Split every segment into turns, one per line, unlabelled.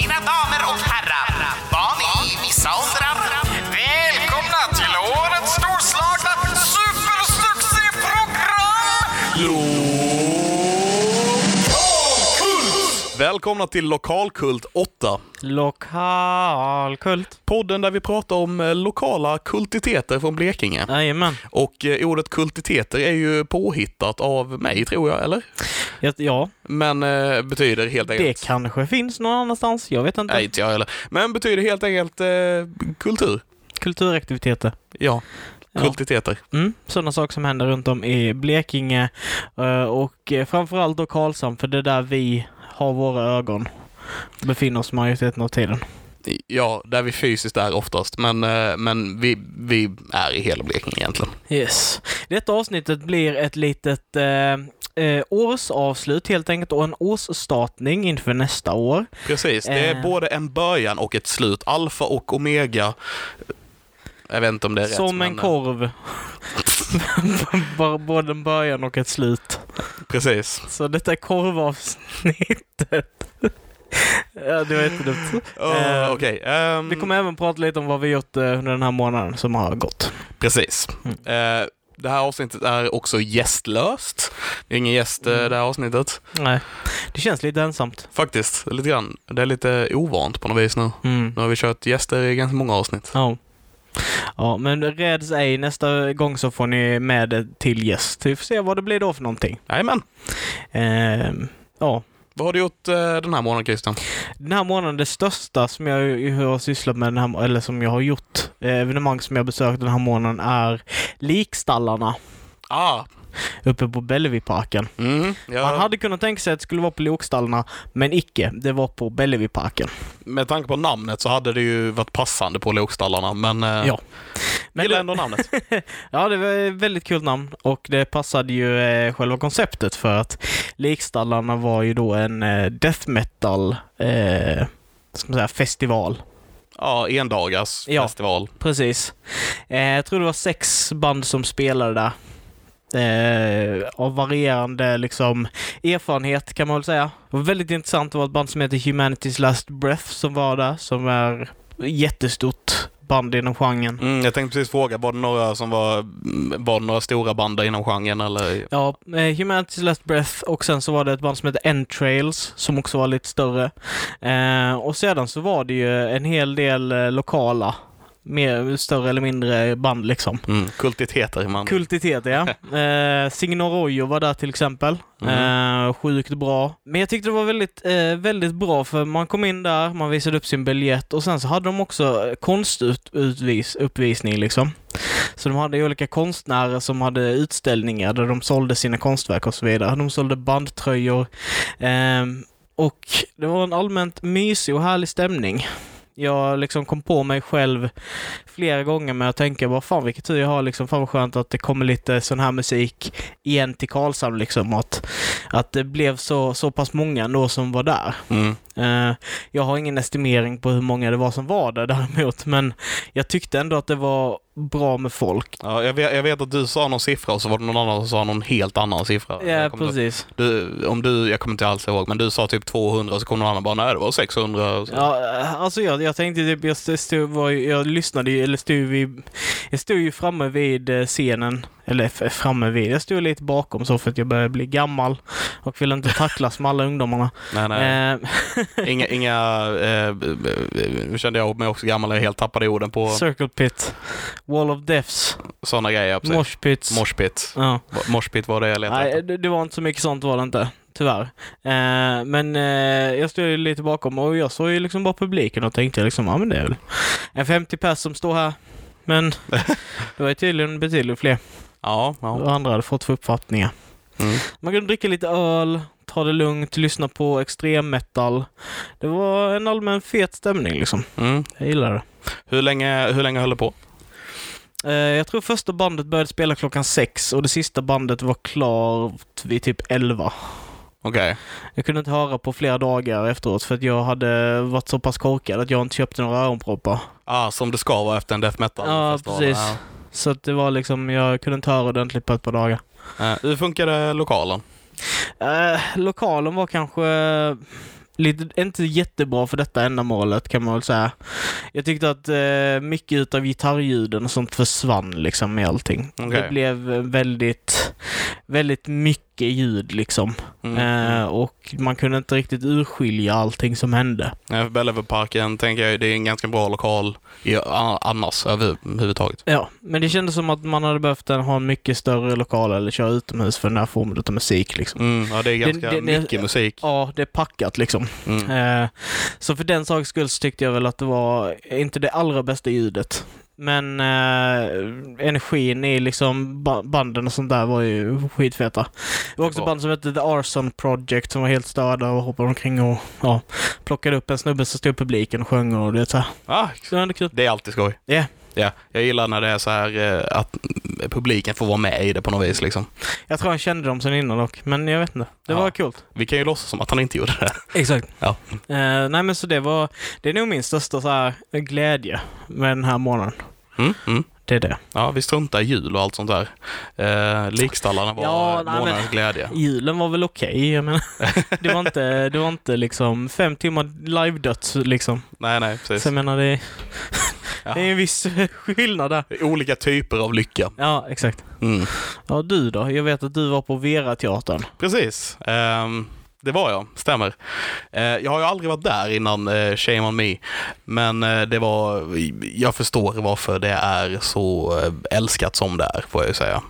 Mina damer och herrar, barn i vissa åldrar. Välkomna till årets storslagna supersuccéprogram!
Välkomna till Lokalkult 8.
Lokalkult.
Podden där vi pratar om eh, lokala kultiteter från Blekinge.
Jajamän.
Och eh, ordet kultiteter är ju påhittat av mig, tror jag, eller?
Ja, ja,
Men eh, betyder helt enkelt...
det kanske finns någon annanstans. Jag vet inte.
Nej, inte jag heller. Men betyder helt enkelt eh, kultur.
Kulturaktiviteter.
Ja,
Ja.
kultiteter.
Mm, sådana saker som händer runt om i Blekinge eh, och eh, framförallt då Karlshamn, för det är där vi har våra ögon. Befinner oss majoriteten av tiden.
Ja, där vi fysiskt är oftast, men, eh, men vi, vi är i hela Blekinge egentligen.
Yes. Detta avsnittet blir ett litet eh, eh, årsavslut helt enkelt och en årsstartning inför nästa år.
Precis, det är
Eh.
både en början och ett slut. Alfa och omega. Jag vet inte om det är rätt,
Som en
men, eh,
korv. Bara både en början och ett slut.
Precis.
Så detta är korvavsnittet. ja, det var jättedumt.
Oh,
Eh,
Okej, ehm,
Vi kommer även prata lite om vad vi gjort eh, under den här månaden som har gått.
precis.
Mm.
Eh, det här avsnittet är också gästlöst. Det är ingen gäst
Mm.
eh, det här avsnittet.
Nej, det känns lite ensamt.
Faktiskt, lite grann. Det är lite ovant på något vis nu.
Mm.
Nu har vi kört gäster i ganska många avsnitt.
Ja. ja, men räds ej. Nästa gång så får ni med ett till gäst. Vi får se vad det blir då för någonting.
Jajamän.
Ehm, ja.
Vad har du gjort eh, den här månaden Christian?
Den här månaden, det största som jag ju- har sysslat med, den här, eller som jag har gjort, eh, evenemang som jag besökt den här månaden är likstallarna
Ah,
uppe på Bellevueparken.
mm, jag,
Man hade kunnat tänka sig att det skulle vara på Lokstallarna, men icke. Det var på Bellevueparken.
Med tanke på namnet så hade det ju varit passande på Lokstallarna, men... Eh,
Ja. Men
gillar
det,
ändå namnet.
ja, det var ett väldigt kul namn och det passade ju eh, själva konceptet för att Likstallarna var ju då en eh, death metal eh, ska man säga, festival.
ja, endagars
Ja.
festival.
Precis. Eh, jag tror det var sex band som spelade där. Eh, av varierande liksom, erfarenhet kan man väl säga. Det var väldigt intressant. Det var ett band som heter Humanity's Last Breath som var där, som är ett jättestort band inom genren.
Mm, jag tänkte precis fråga, var det några som var... mm, Var det några stora band där inom genren eller?
Ja, eh, Humanity's Last Breath och sen så var det ett band som hette Entrails som också var lite större. Eh, och sedan så var det ju en hel del eh, lokala, mer, större eller mindre band liksom.
Mm, kultiteter. Man.
Kultitet, ja. Eh, Signor Rojo var där till exempel. Eh, sjukt bra. Men jag tyckte det var väldigt, eh, väldigt bra för man kom in där, man visade upp sin biljett och sen så hade de också konstuppvisning liksom. Så de hade ju olika konstnärer som hade utställningar där de sålde sina konstverk och så vidare. De sålde bandtröjor. ehm, och det var en allmänt mysig och härlig stämning. Jag liksom kom på mig själv flera gånger med att tänka bara fan vilket tur jag har liksom, fan vad skönt att det kommer lite sån här musik igen till Karlshamn liksom. Att, att det blev så, så pass många ändå som var där.
Mm.
Eh, jag har ingen estimering på hur många det var som var där däremot, men jag tyckte ändå att det var bra med folk.
Ja, jag, vet, jag vet att du sa någon siffra och så var det någon annan som sa någon helt annan siffra.
Ja,
Jag kommer inte-
precis.
Du, om du, jag kommer inte alls ihåg, men du sa typ 200 och så kom någon annan och bara nej det var 600. och Så.
Ja, eh, alltså jag, jag tänkte typ, jag, st- stod, var, ju- jag lyssnade ju, eller stod vid, jag stod ju framme vid eh, scenen. Eller f- framme vid, jag stod lite bakom så för att jag började bli gammal och ville inte tacklas med alla ungdomarna.
Nej, nej.
Eh,
Inga, inga eh, b- b- b- nu kände jag mig också gammal och jag helt tappade orden på
Circle Pit, Wall of Deaths,
sådana grejer. precis.
Mosh Pits.
Moshpit.
ja.
Va- Moshpit var det jag letade
Nej,
efter.
det, det var inte så mycket sånt var det inte. Tyvärr. Eh, men eh, jag stod ju lite bakom och jag såg ju liksom bara publiken och tänkte liksom, ja men det är väl en 50 pers som står här. Men det var ju tydligen betydligt fler.
Ja, ja.
Och andra hade fått för uppfattningar.
Mm.
Man kunde dricka lite öl, ta det lugnt, lyssna på extrem metal. Det var en allmän fet stämning liksom.
Mm.
Jag gillar det.
Hur, länge, hur länge höll det på?
Eh, Jag tror första bandet började spela klockan sex och det sista bandet var klart vid typ elva.
Okej.
Jag kunde inte höra på flera dagar efteråt för att jag hade varit så pass korkad att jag inte köpte några öronproppar.
Ah, som det ska vara efter en death metal
Ja,
festival.
precis.
Ja.
Så att det var liksom, jag kunde inte höra ordentligt på ett par dagar.
Eh, hur funkade lokalen?
Eh, lokalen var kanske lite, inte jättebra för detta ändamålet kan man väl säga. Jag tyckte att eh, mycket utav gitarrljuden och sånt försvann liksom med allting.
Okej.
Det blev eh, väldigt, väldigt mycket ljud liksom.
Mm.
Eh, och man kunde inte riktigt urskilja allting som hände.
Eh, Bellevueparken tänker jag, det är en ganska bra lokal i, a- annars överhuvudtaget.
Ja, men det kändes som att man hade behövt en, ha en mycket större lokal eller köra utomhus för den här formen utav musik liksom.
Mm, ja, det är ganska
det- det-
mycket musik.
Ja, det är packat liksom.
Mm.
Eh, Så för den sakens skull så tyckte jag väl att det var inte det allra bästa ljudet. Men eh, energin i liksom ba- banden och sånt där var ju skitfeta. Det var också
Bra.
band som hette The Arson Project som var helt störda och hoppade omkring och ja, plockade upp en snubbe som stod i publiken och sjöng och det så här.
Ah,
Så det var ändå kul.
det är alltid skoj.
Ja.
Ja, jag gillar när det är så här eh, att mm, publiken får vara med i det på något vis. Liksom.
Jag tror han kände dem sen innan dock, men jag vet inte. Det
Ja.
var kul.
Vi kan ju låtsas som att han inte gjorde det.
Exakt.
Ja.
Eh, nej men så det var, det är nog min största så här, glädje med den här månaden.
Mm, mm.
Det är det.
Ja, vi struntar i jul och allt sånt där. Eh, likstallarna var
Ja,
ja,
nej, men-
månadens glädje.
Julen var väl okej, jag menar. Det var inte, det var inte liksom fem timmar live-döds liksom.
Nej, nej, precis.
Så jag menar det,
Ja.
det är en viss skillnad där.
Olika typer av lycka.
Ja, exakt.
Mm.
Ja, du då? Jag vet att du var på Vera-teatern.
Precis. Ehm, det var jag, stämmer. Eh, jag har ju aldrig varit där innan, eh, shame on me. Men eh, det var, jag förstår varför det är så eh, älskat som det är, får jag ju säga.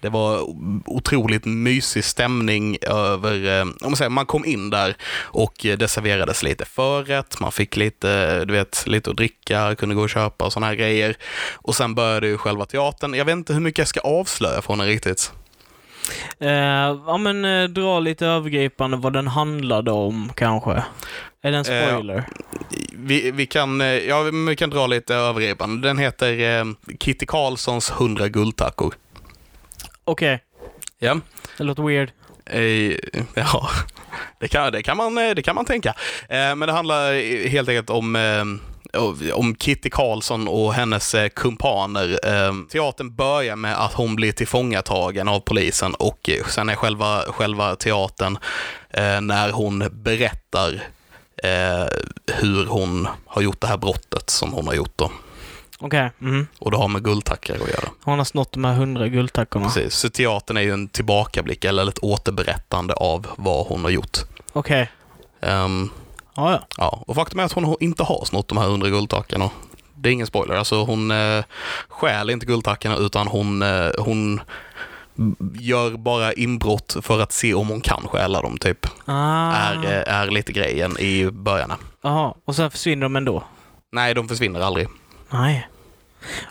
Det var o- otroligt mysig stämning över, eh, om man säger, man kom in där och eh, det serverades lite förrätt, man fick lite, eh, du vet, lite att dricka, kunde gå och köpa och sådana här grejer. Och sen började ju själva teatern. Jag vet inte hur mycket jag ska avslöja från den riktigt.
Eh, ja, men eh, dra lite övergripande vad den handlade om kanske. Är det en
Eh,
spoiler?
Vi, vi, kan, eh, ja, vi kan dra lite övergripande. Den heter eh, Kitty Karlssons 100 guldtackor.
Okej,
Ja.
det låter weird.
Eh, ja, det kan, det, kan man, eh, det kan man tänka. Eh, men det handlar eh, helt enkelt om eh, om Kitty Karlsson och hennes eh, kumpaner. Eh, teatern börjar med att hon blir tillfångatagen av polisen och eh, sen är själva, själva teatern eh, när hon berättar eh, hur hon har gjort det här brottet som hon har gjort. Då.
Okej, mhm.
Och det har med guldtackar att göra.
hon har snott de här hundra guldtackorna.
Precis. Så teatern är ju en tillbakablick eller ett återberättande av vad hon har gjort.
Okej,
Ehm,
ja, ja.
ja. Och faktum är att hon inte har snott de här 100 guldtackorna. Det är ingen spoiler. Alltså hon eh, stjäl inte guldtackorna utan hon, eh, hon gör bara inbrott för att se om hon kan stjäla dem, typ.
Ah.
Är, eh, är lite grejen i början.
Jaha, och sen försvinner de ändå?
Nej, de försvinner aldrig.
Nej.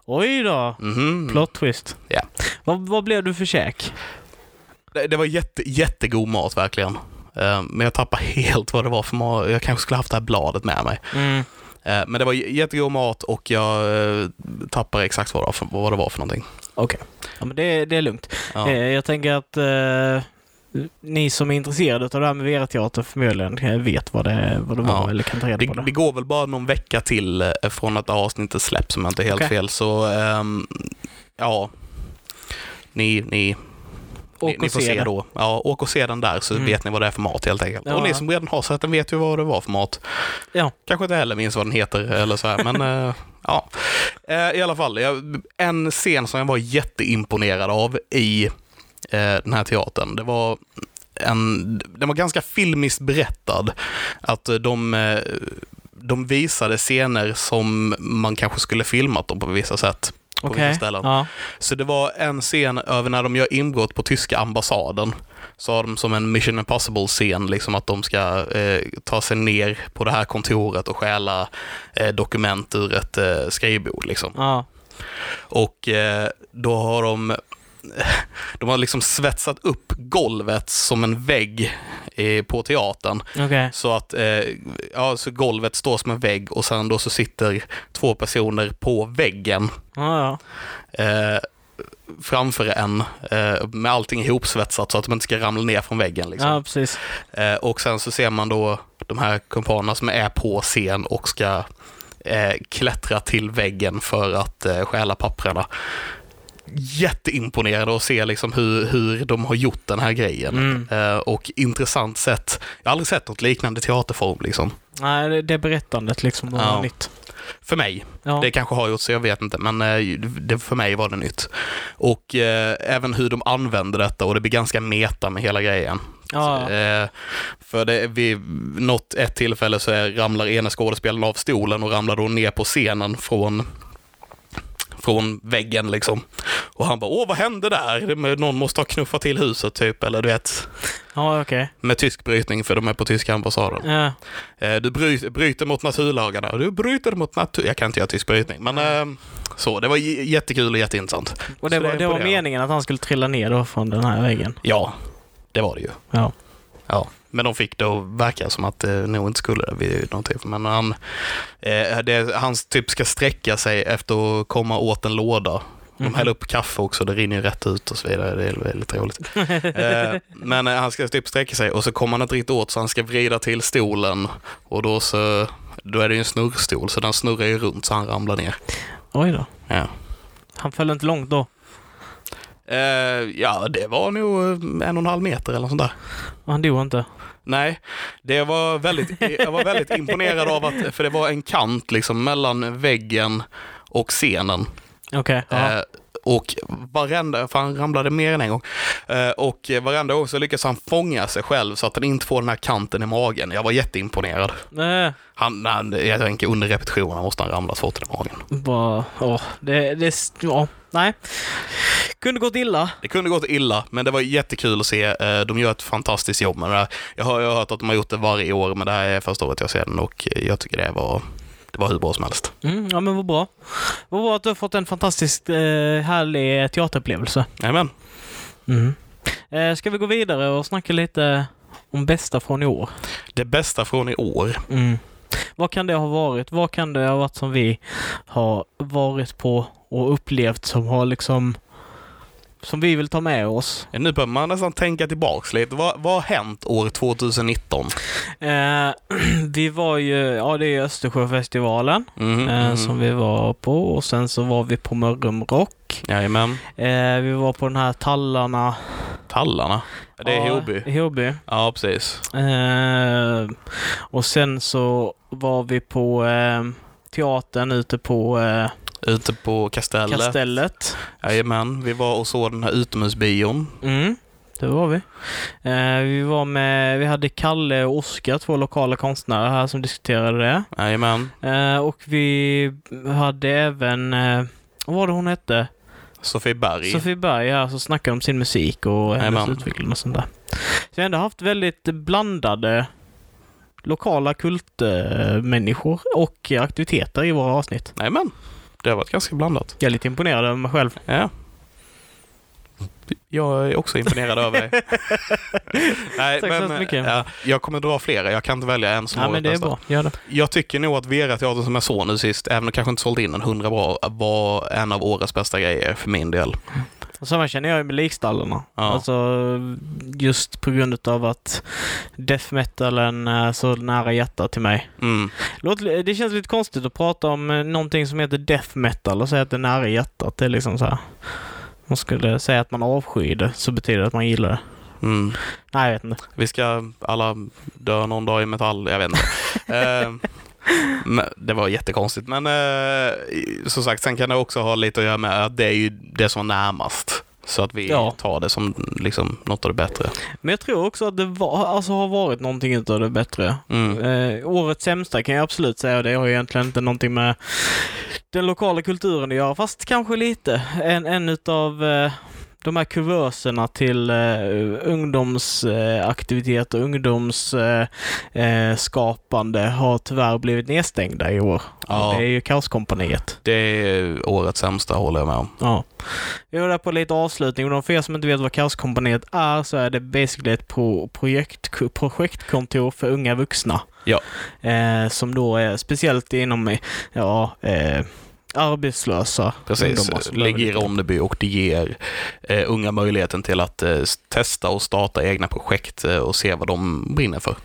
Oj då!
Mhm.
Plot twist.
Ja.
Vad, vad blev du för käk?
Det, det var jätte, jättegod mat verkligen. Eh, Men jag tappar helt vad det var för mat. Jag kanske skulle haft det här bladet med mig.
Mm.
Eh, Men det var j- jättegod mat och jag eh, tappar exakt vad det var för, vad det var för någonting.
Okej. Ja, men det, det är lugnt.
Ja.
Eh, jag tänker att eh, ni som är intresserade av det här med Vera-teatern förmodligen eh, vet vad det, vad det var
Ja.
eller kan ta reda på
Det, det
det.
går väl bara någon vecka till eh, från att avsnittet släpps om jag inte är helt
Okej.
fel. Så ehm, ja, ni, ni,
Åk
ni,
och
ni får
se
se
det.
då. Ja, åk och se den där så
Mm.
vet ni vad det är för mat helt enkelt.
Ja.
Och ni som redan har sett den vet ju vad det var för mat.
Ja.
Kanske inte heller minns vad den heter eller så här, men eh, ja. Eh, I alla fall, jag, en scen som jag var jätteimponerad av i eh, den här teatern, det var en, den var ganska filmiskt berättad. Att eh, de, eh, de visade scener som man kanske skulle filmat dem på vissa sätt. På
Okej.
vissa ställen.
Ja.
Så det var en scen över när de gör inbrott på tyska ambassaden. Så har de som en Mission Impossible-scen, liksom att de ska eh, ta sig ner på det här kontoret och stjäla eh, dokument ur ett eh, skrivbord. Liksom.
ja.
Och eh, då har de de har liksom svetsat upp golvet som en vägg eh, på teatern.
Okej.
Så att eh, ja, så golvet står som en vägg och sen då så sitter två personer på väggen
Ja, ja.
eh, framför en eh, med allting ihopsvetsat så att de inte ska ramla ner från väggen. Liksom.
ja, precis.
Eh, och sen så ser man då de här kumpanerna som är på scen och ska eh, klättra till väggen för att eh, stjäla papprena. jätteimponerad att se liksom hur, hur de har gjort den här grejen. Eh, och intressant sätt. Jag har aldrig sett något liknande teaterform liksom.
Nej, det- det berättandet liksom var
Ja.
nytt.
För mig.
Ja.
Det kanske har gjort så, jag vet inte. Men eh, det, för mig var det nytt. Och eh, även hur de använder detta och det blir ganska meta med hela grejen.
ja.
Eh, för det, vid något ett tillfälle så är, ramlar ena skådespelaren av stolen och ramlar då ner på scenen från från väggen liksom. Och han bara åh vad hände där? Det- Någon måste ha knuffat till huset typ, eller du vet.
Ja, okej.
Med tysk brytning för de är på tyska ambassaden.
Ja.
Eh, Du bry- bryter mot naturlagarna. Du bryter mot natur... Jag kan inte göra tysk brytning, men eh, så. Det var j- jättekul och jätteintressant.
Och det
Så
var, det var
imponerande.
meningen att han skulle trilla ner då från den här väggen.
Ja, det var det ju.
Ja.
Ja. Men de fick det att verka som att det nog inte skulle det vid någon tid. Men han, eh, det, han typ ska sträcka sig efter att komma åt en låda. De
Mhm.
häller upp kaffe också, det rinner ju rätt ut och så vidare. Det är väldigt roligt. eh, men eh, han ska typ sträcka sig och så kommer han inte riktigt åt så han ska vrida till stolen. Och då så, då är det ju en snurrstol så den snurrar ju runt så han ramlar ner.
Oj då.
Ja.
Han föll inte långt då.
Eh, ja, det var nog eh, en och en halv meter eller något sånt där.
Och han dog inte.
Nej, det var väldigt, jag var väldigt imponerad av att, för det var en kant liksom mellan väggen och scenen.
Okej. ja.
Eh, och varenda, för han ramlade mer än en gång, eh, och varenda gång så lyckas han fånga sig själv så att han inte får den här kanten i magen. Jag var jätteimponerad.
Eh,
Han, han, jag tänker under repetitionerna måste han ramla svårt i magen.
bara, åh, det, det, ja, nej. Kunde gått illa.
Det kunde gått illa, men det var jättekul att se. Eh, De gör ett fantastiskt jobb med det här. Jag har, jag har hört att de har gjort det varje år, men det här är första året jag ser den och jag tycker det var, det var hur bra som helst.
Mm, ja, men vad bra. Vad bra att du har fått en fantastiskt eh, härlig teaterupplevelse.
Jajamän.
Mm. Eh, ska vi gå vidare och snacka lite om bästa från i år?
Det bästa från i år.
Mm. Vad kan det ha varit? Vad kan det ha varit som vi har varit på och upplevt som har liksom som vi vill ta med oss?
Nu behöver man nästan tänka tillbaks lite. Vad, vad har hänt år 2019?
Eh, vi var ju, ja det är Östersjöfestivalen
Mm,
eh, som vi var på och sen så var vi på Mörrum Rock.
Jajamän.
Eh, vi var på den här Tallarna.
Tallarna. Det är
Ja,
Hobby.
Hobby.
Ja, precis.
Eh, och sen så var vi på eh, teatern ute på eh,
Ute på Kastellet.
Kastellet.
Jajamän. Vi var och såg den här utomhusbion.
Mm, det var vi. Eh, vi var med, vi hade Kalle och Oskar, två lokala konstnärer här som diskuterade det.
Jajamän.
Eh, och vi hade även, eh, vad var det hon hette?
Sofie Berg.
Sofie Berg här som snackade om sin musik och hennes
Jajamän.
utveckling och sånt där. Så jag har ändå haft väldigt blandade lokala kultmänniskor och aktiviteter i våra avsnitt.
Jajamän. Det har varit ganska blandat.
Jag är lite imponerad över mig själv.
Ja. Jag är också imponerad över dig. Nej,
Tack så hemskt mycket.
Ja, jag kommer dra flera. Jag kan inte välja en som
Ja,
årets
men det är
bästa.
bra. Gör det.
Jag tycker nog att Vera-teatern som jag såg nu sist, även om jag kanske inte sålde in en hundra bra, var en av årets bästa grejer för min del.
Och samma känner jag med likstallarna.
Ja.
Alltså just på grund av att death metalen är eh, så nära hjärtat till mig.
Mm.
Låt, det känns lite konstigt att prata om eh, någonting som heter death metal och säga att det är nära hjärtat. Det är liksom så här. Man skulle säga att man avskyr det så betyder det att man gillar det.
Mm.
Nej, jag vet inte.
Vi ska alla dö någon dag i metall, jag vet inte. Eh, men det var jättekonstigt, men eh, som sagt, sen kan det också ha lite att göra med att det är ju det som är närmast. Så att vi
Ja.
tar det som liksom, något av det bättre.
Men jag tror också att det var, alltså har varit någonting utav det bättre.
Mm.
Eh, årets sämsta kan jag absolut säga. Det har ju egentligen inte någonting med den lokala kulturen att göra, fast kanske lite. En, en utav eh, de här kuvöserna till eh, ungdomsaktivitet och ungdomsskapande eh, skapande har tyvärr blivit nedstängda i år.
Ja.
Det är ju Kaoskompaniet.
Det är årets sämsta, håller jag med om.
Ja. Vi var där på lite avslutning och för er som inte vet vad Kaoskompaniet är så är det basically ett pro- projekt, projektkontor för unga vuxna.
Ja.
Eh, som då är speciellt inom eh, ja, eh, arbetslösa
Precis.
ungdomar som
Ligger i
behöver-
Ronneby och det ger eh, unga möjligheten till att eh, s- testa och starta egna projekt eh, och se vad de brinner för.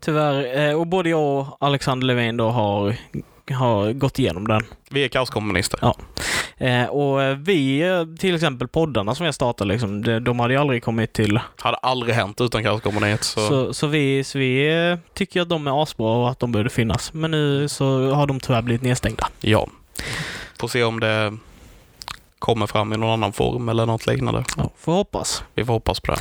Tyvärr, eh, och både jag och Alexander Levin då har har gått igenom den.
Vi är kaoskommunister.
Ja. Eh, och eh, vi, eh, till exempel poddarna som jag startade, liksom, de, de hade ju aldrig kommit till.
Hade aldrig hänt utan kaoskommuniet. Så.
Så, så, vi, så vi eh, tycker att de är asbra och att de borde finnas. Men nu så har de tyvärr blivit nedstängda.
ja. Får se om det kommer fram i någon annan form eller något liknande.
Ja, får hoppas.
Vi får hoppas på det.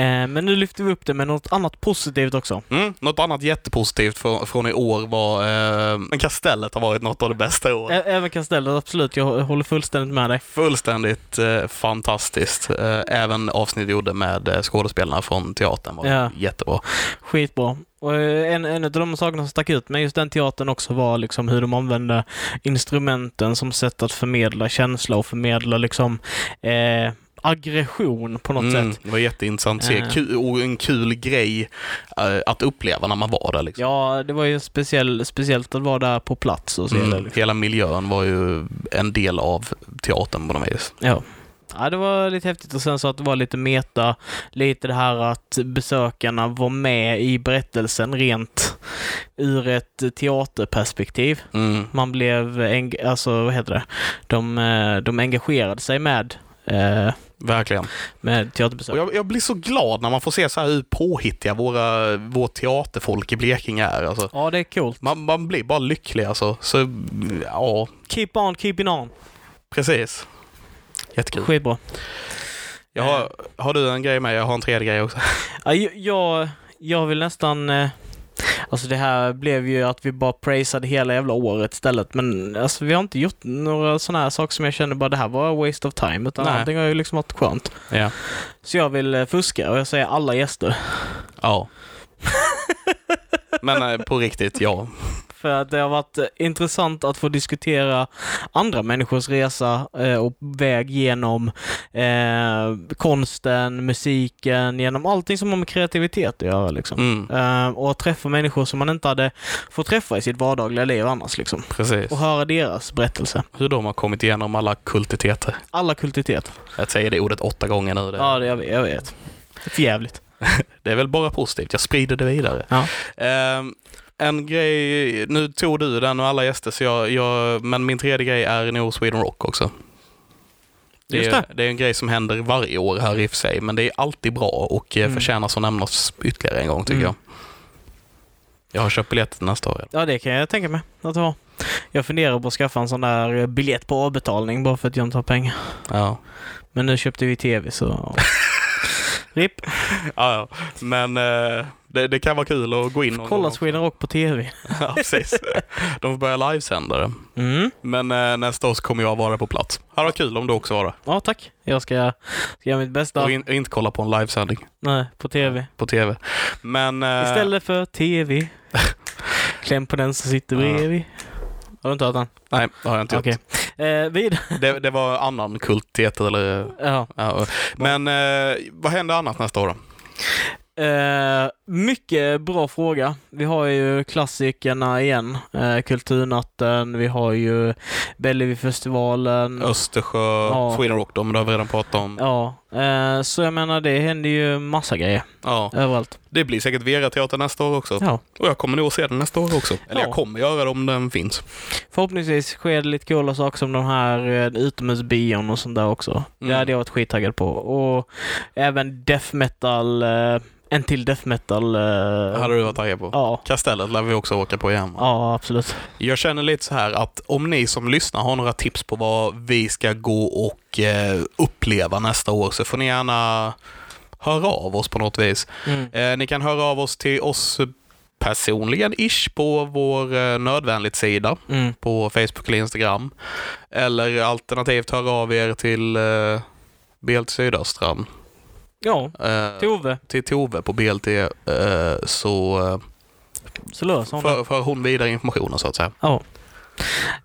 Eh, men nu lyfter vi upp det med något annat positivt också.
Mm, något annat jättepositivt från, från i år var... Eh, men Kastellet har varit något av det bästa i år.
Ä- Även Castellet, absolut. Jag håller fullständigt med dig.
Fullständigt eh, fantastiskt. Eh, även avsnitt vi gjorde med eh, skådespelarna från teatern var
Ja.
jättebra.
Skitbra. Och eh, en, en av de sakerna som stack ut med just den teatern också var liksom hur de använde instrumenten som sätt att förmedla känsla och förmedla liksom eh, aggression på något
Mm,
sätt.
det var jätteintressant att se.
Eh.
Kul, och en kul grej eh, att uppleva när man var där. Liksom.
Ja, det var ju speciell, speciellt att vara där på plats och se det.
Mm.
Liksom.
Hela miljön var ju en del av teatern på något vis.
Ja. ja, det var lite häftigt och sen så att det var lite meta, lite det här att besökarna var med i berättelsen rent ur ett teaterperspektiv.
Mm.
man blev, eng- alltså vad heter det, de, eh, de engagerade sig med, eh,
Verkligen.
med
Och
teaterbesök.
jag, jag blir så glad när man får se så här hur påhittiga våra, vårt teaterfolk i Blekinge är. Alltså.
Ja, det är coolt.
Man, man blir bara lycklig alltså. Så, ja,
Keep on, keeping on.
precis. Jättekul.
Skitbra.
Jag har, har du en grej med? Jag har en tredje grej också.
Ja, j- jag, jag vill nästan... eh, Alltså det här blev ju att vi bara praisade hela jävla året istället, men alltså vi har inte gjort några sådana här saker som jag känner bara det här var waste of time, utan
Nej.
allting har ju liksom varit skönt.
Ja.
Så jag vill eh, fuska och jag säger alla gäster.
ja. Men eh, på riktigt, ja.
För att det har varit eh, intressant att få diskutera andra människors resa eh, och väg genom eh, konsten, musiken, genom allting som har med kreativitet att göra. Liksom.
Mm,
Eh, och att träffa människor som man inte hade fått träffa i sitt vardagliga liv annars. Liksom.
precis.
Och höra deras berättelse.
Hur de har kommit igenom alla kultiteter.
Alla kultiteter.
Jag säger det ordet åtta gånger nu. Det,
Ja, det jag vet. Jag vet. Det är för jävligt.
det är väl bara positivt. Jag sprider det vidare.
Ja.
Ehm, en grej, nu tog du den och alla gäster, så jag, jag, men min tredje grej är nog Sweden Rock också. Det är,
Just det.
det är en grej som händer varje år här i och för sig, men det är alltid bra och mm.
Mm.
förtjänas att nämnas ytterligare en gång tycker
Mm.
jag. Jag har köpt biljetter till nästa år.
Ja, det kan jag tänka mig att ha. Jag funderar på att skaffa en sån där eh, biljett på avbetalning bara för att jag inte har pengar.
Ja.
Men nu köpte vi tv så... RIP.
Ja, ja. Men eh, det, det kan vara kul att gå in och
Kolla Sweden Rock på tv.
ja, precis. De får börja livesända det.
Mm.
Men eh, nästa år så kommer jag vara på plats. Det var kul om du också var där.
Ja, tack. Jag ska, ska göra mitt bästa.
Och, in, och inte kolla på en livesändning
Nej, på tv.
på tv. Men... eh,
Istället för tv. Kläm på den som sitter
Ja.
bredvid. Har du inte hört den?
Nej, det har jag inte gjort.
Okej. Eh, vidare.
Det, det var annan kultet eller...
Ja.
Ja. Men eh, vad händer annars nästa år då?
Eh, mycket bra fråga. Vi har ju klassikerna igen. Eh, Kulturnatten, vi har ju Bellevuefestivalen.
Östersjö,
Mm. Ja.
Sweden Rock, de har vi redan pratat om.
Ja, eh, så jag menar det händer ju massa grejer
Ja.
överallt.
Det blir säkert Vera-teater nästa år också.
Ja.
Och jag kommer nog se den nästa år också. Eller jag
Ja.
kommer göra det om den finns.
Förhoppningsvis sker det lite coola saker som de här eh, utomhusbion och sånt där också.
Mm.
Det hade jag varit skittaggad på. Och även death metal, eh, en till death metal. eh,
Det hade du varit taggad på.
Ja,
Kastellet lär vi också åka på igen.
ja absolut.
Jag känner lite så här att om ni som lyssnar har några tips på vad vi ska gå och eh, uppleva nästa år så får ni gärna höra av oss på något vis.
Mm.
Eh, ni kan höra av oss till oss personligen ish på vår eh, nödvändigt-sida
Mm.
på Facebook eller Instagram. Eller alternativt höra av er till eh, BLT Sydöstra.
Ja,
Eh,
Tove,
till Tove på BLT eh, så eh,
så löser hon det.
för, för hon vidare informationen så att säga.
Ja.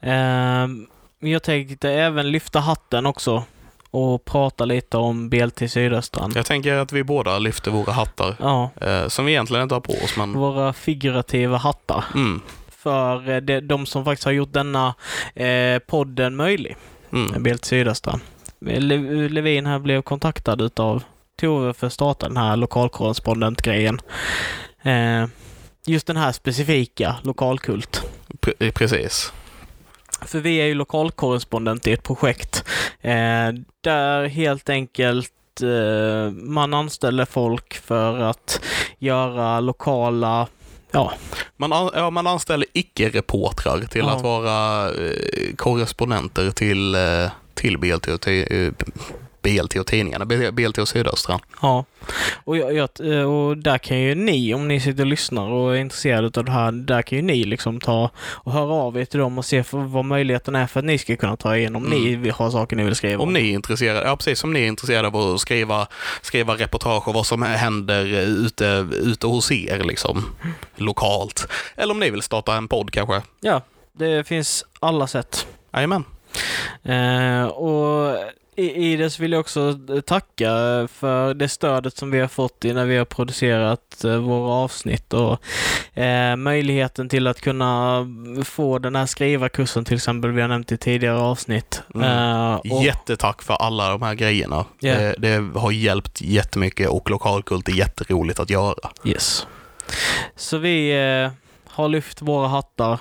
Ehm, jag tänkte även lyfta hatten också och prata lite om BLT Sydöstran.
Jag tänker att vi båda lyfter våra hattar.
Ja,
Eh, som vi egentligen inte har på oss, men...
våra figurativa hattar.
Mm,
För eh, det- de som faktiskt har gjort denna eh, podden möjlig.
mm.
Belt Sydöstra. Eh, Le- Levin här blev kontaktad utav Tove för att starta den här lokalkorrespondent-grejen. Ehm, Eh, just den här specifika lokalkult.
Pre- precis.
För vi är ju lokalkorrespondent i ett projekt eh, där helt enkelt eh, man anställer folk för att göra lokala Ja,
Man, an, ja, man anställer icke-reportrar till
Ja.
att vara eh, korrespondenter till, eh, till BLT och, ti- eh, BLT och tidningarna, B- BLT och Sydöstra.
ja. Och, jag, jag, och där kan ju ni, om ni sitter och lyssnar och är intresserade av det här, där kan ju ni liksom ta och höra av er till dem och se för, vad möjligheten är för att ni ska kunna ta er igenom. Ni vill- har saker ni vill skriva
Mm. Om ni är intresserade, ja precis som ni är intresserade av att skriva, skriva reportage och vad som händer eh, ute, ute hos er liksom, lokalt. Eller om ni vill starta en podd kanske.
Ja, det finns alla sätt.
Jajamän.
Eh, och i, i det så vill jag också eh, tacka för det stödet som vi har fått i när vi har producerat eh, våra avsnitt och eh, möjligheten till att kunna få den här skrivarkursen till exempel vi har nämnt i tidigare avsnitt.
Mm.
Eh, och,
Jättetack för alla de här grejerna.
Ja.
Eh, Det har hjälpt jättemycket och lokalkult är jätteroligt att göra.
yes. Så vi eh, har lyft våra hattar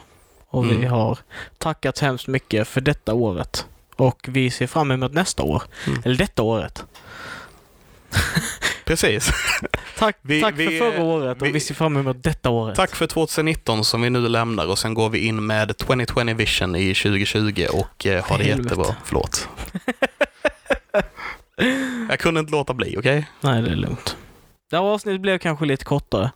och vi
Mm.
har tackat hemskt mycket för detta året. Och vi ser fram emot nästa år.
Mm.
Eller detta året.
Precis.
Tack,
Vi-
tack
vi-
för förra året och
vi-
vi ser fram emot detta året.
Tack för 2019 som vi nu lämnar och sen går vi in med 2020 vision i 2020 och eh, har det
Helvete.
jättebra. Förlåt. Jag kunde inte låta bli, okej?
Nej, det är lugnt. Det här avsnittet blev kanske lite kortare,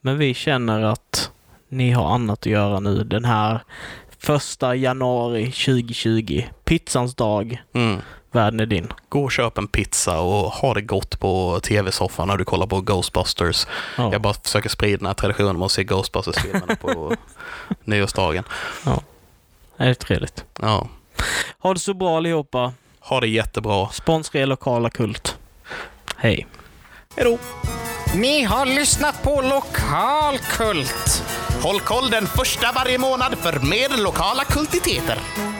men vi känner att ni har annat att göra nu den här första januari 2020. Pizzans dag.
Mm.
Världen är din.
Gå och köp en pizza och ha det gott på tv-soffan när du kollar på Ghostbusters.
Ja.
Jag bara försöker sprida den här traditionen med att se Ghostbusters-filmerna på nyårsdagen.
Det är trevligt.
Ja.
Ha det så bra allihopa.
Ha det jättebra.
Sponsra er lokala Kult. Hej.
Hejdå!
Ni har lyssnat på Lokalkult.
Håll koll den första varje månad för mer lokala kultiteter.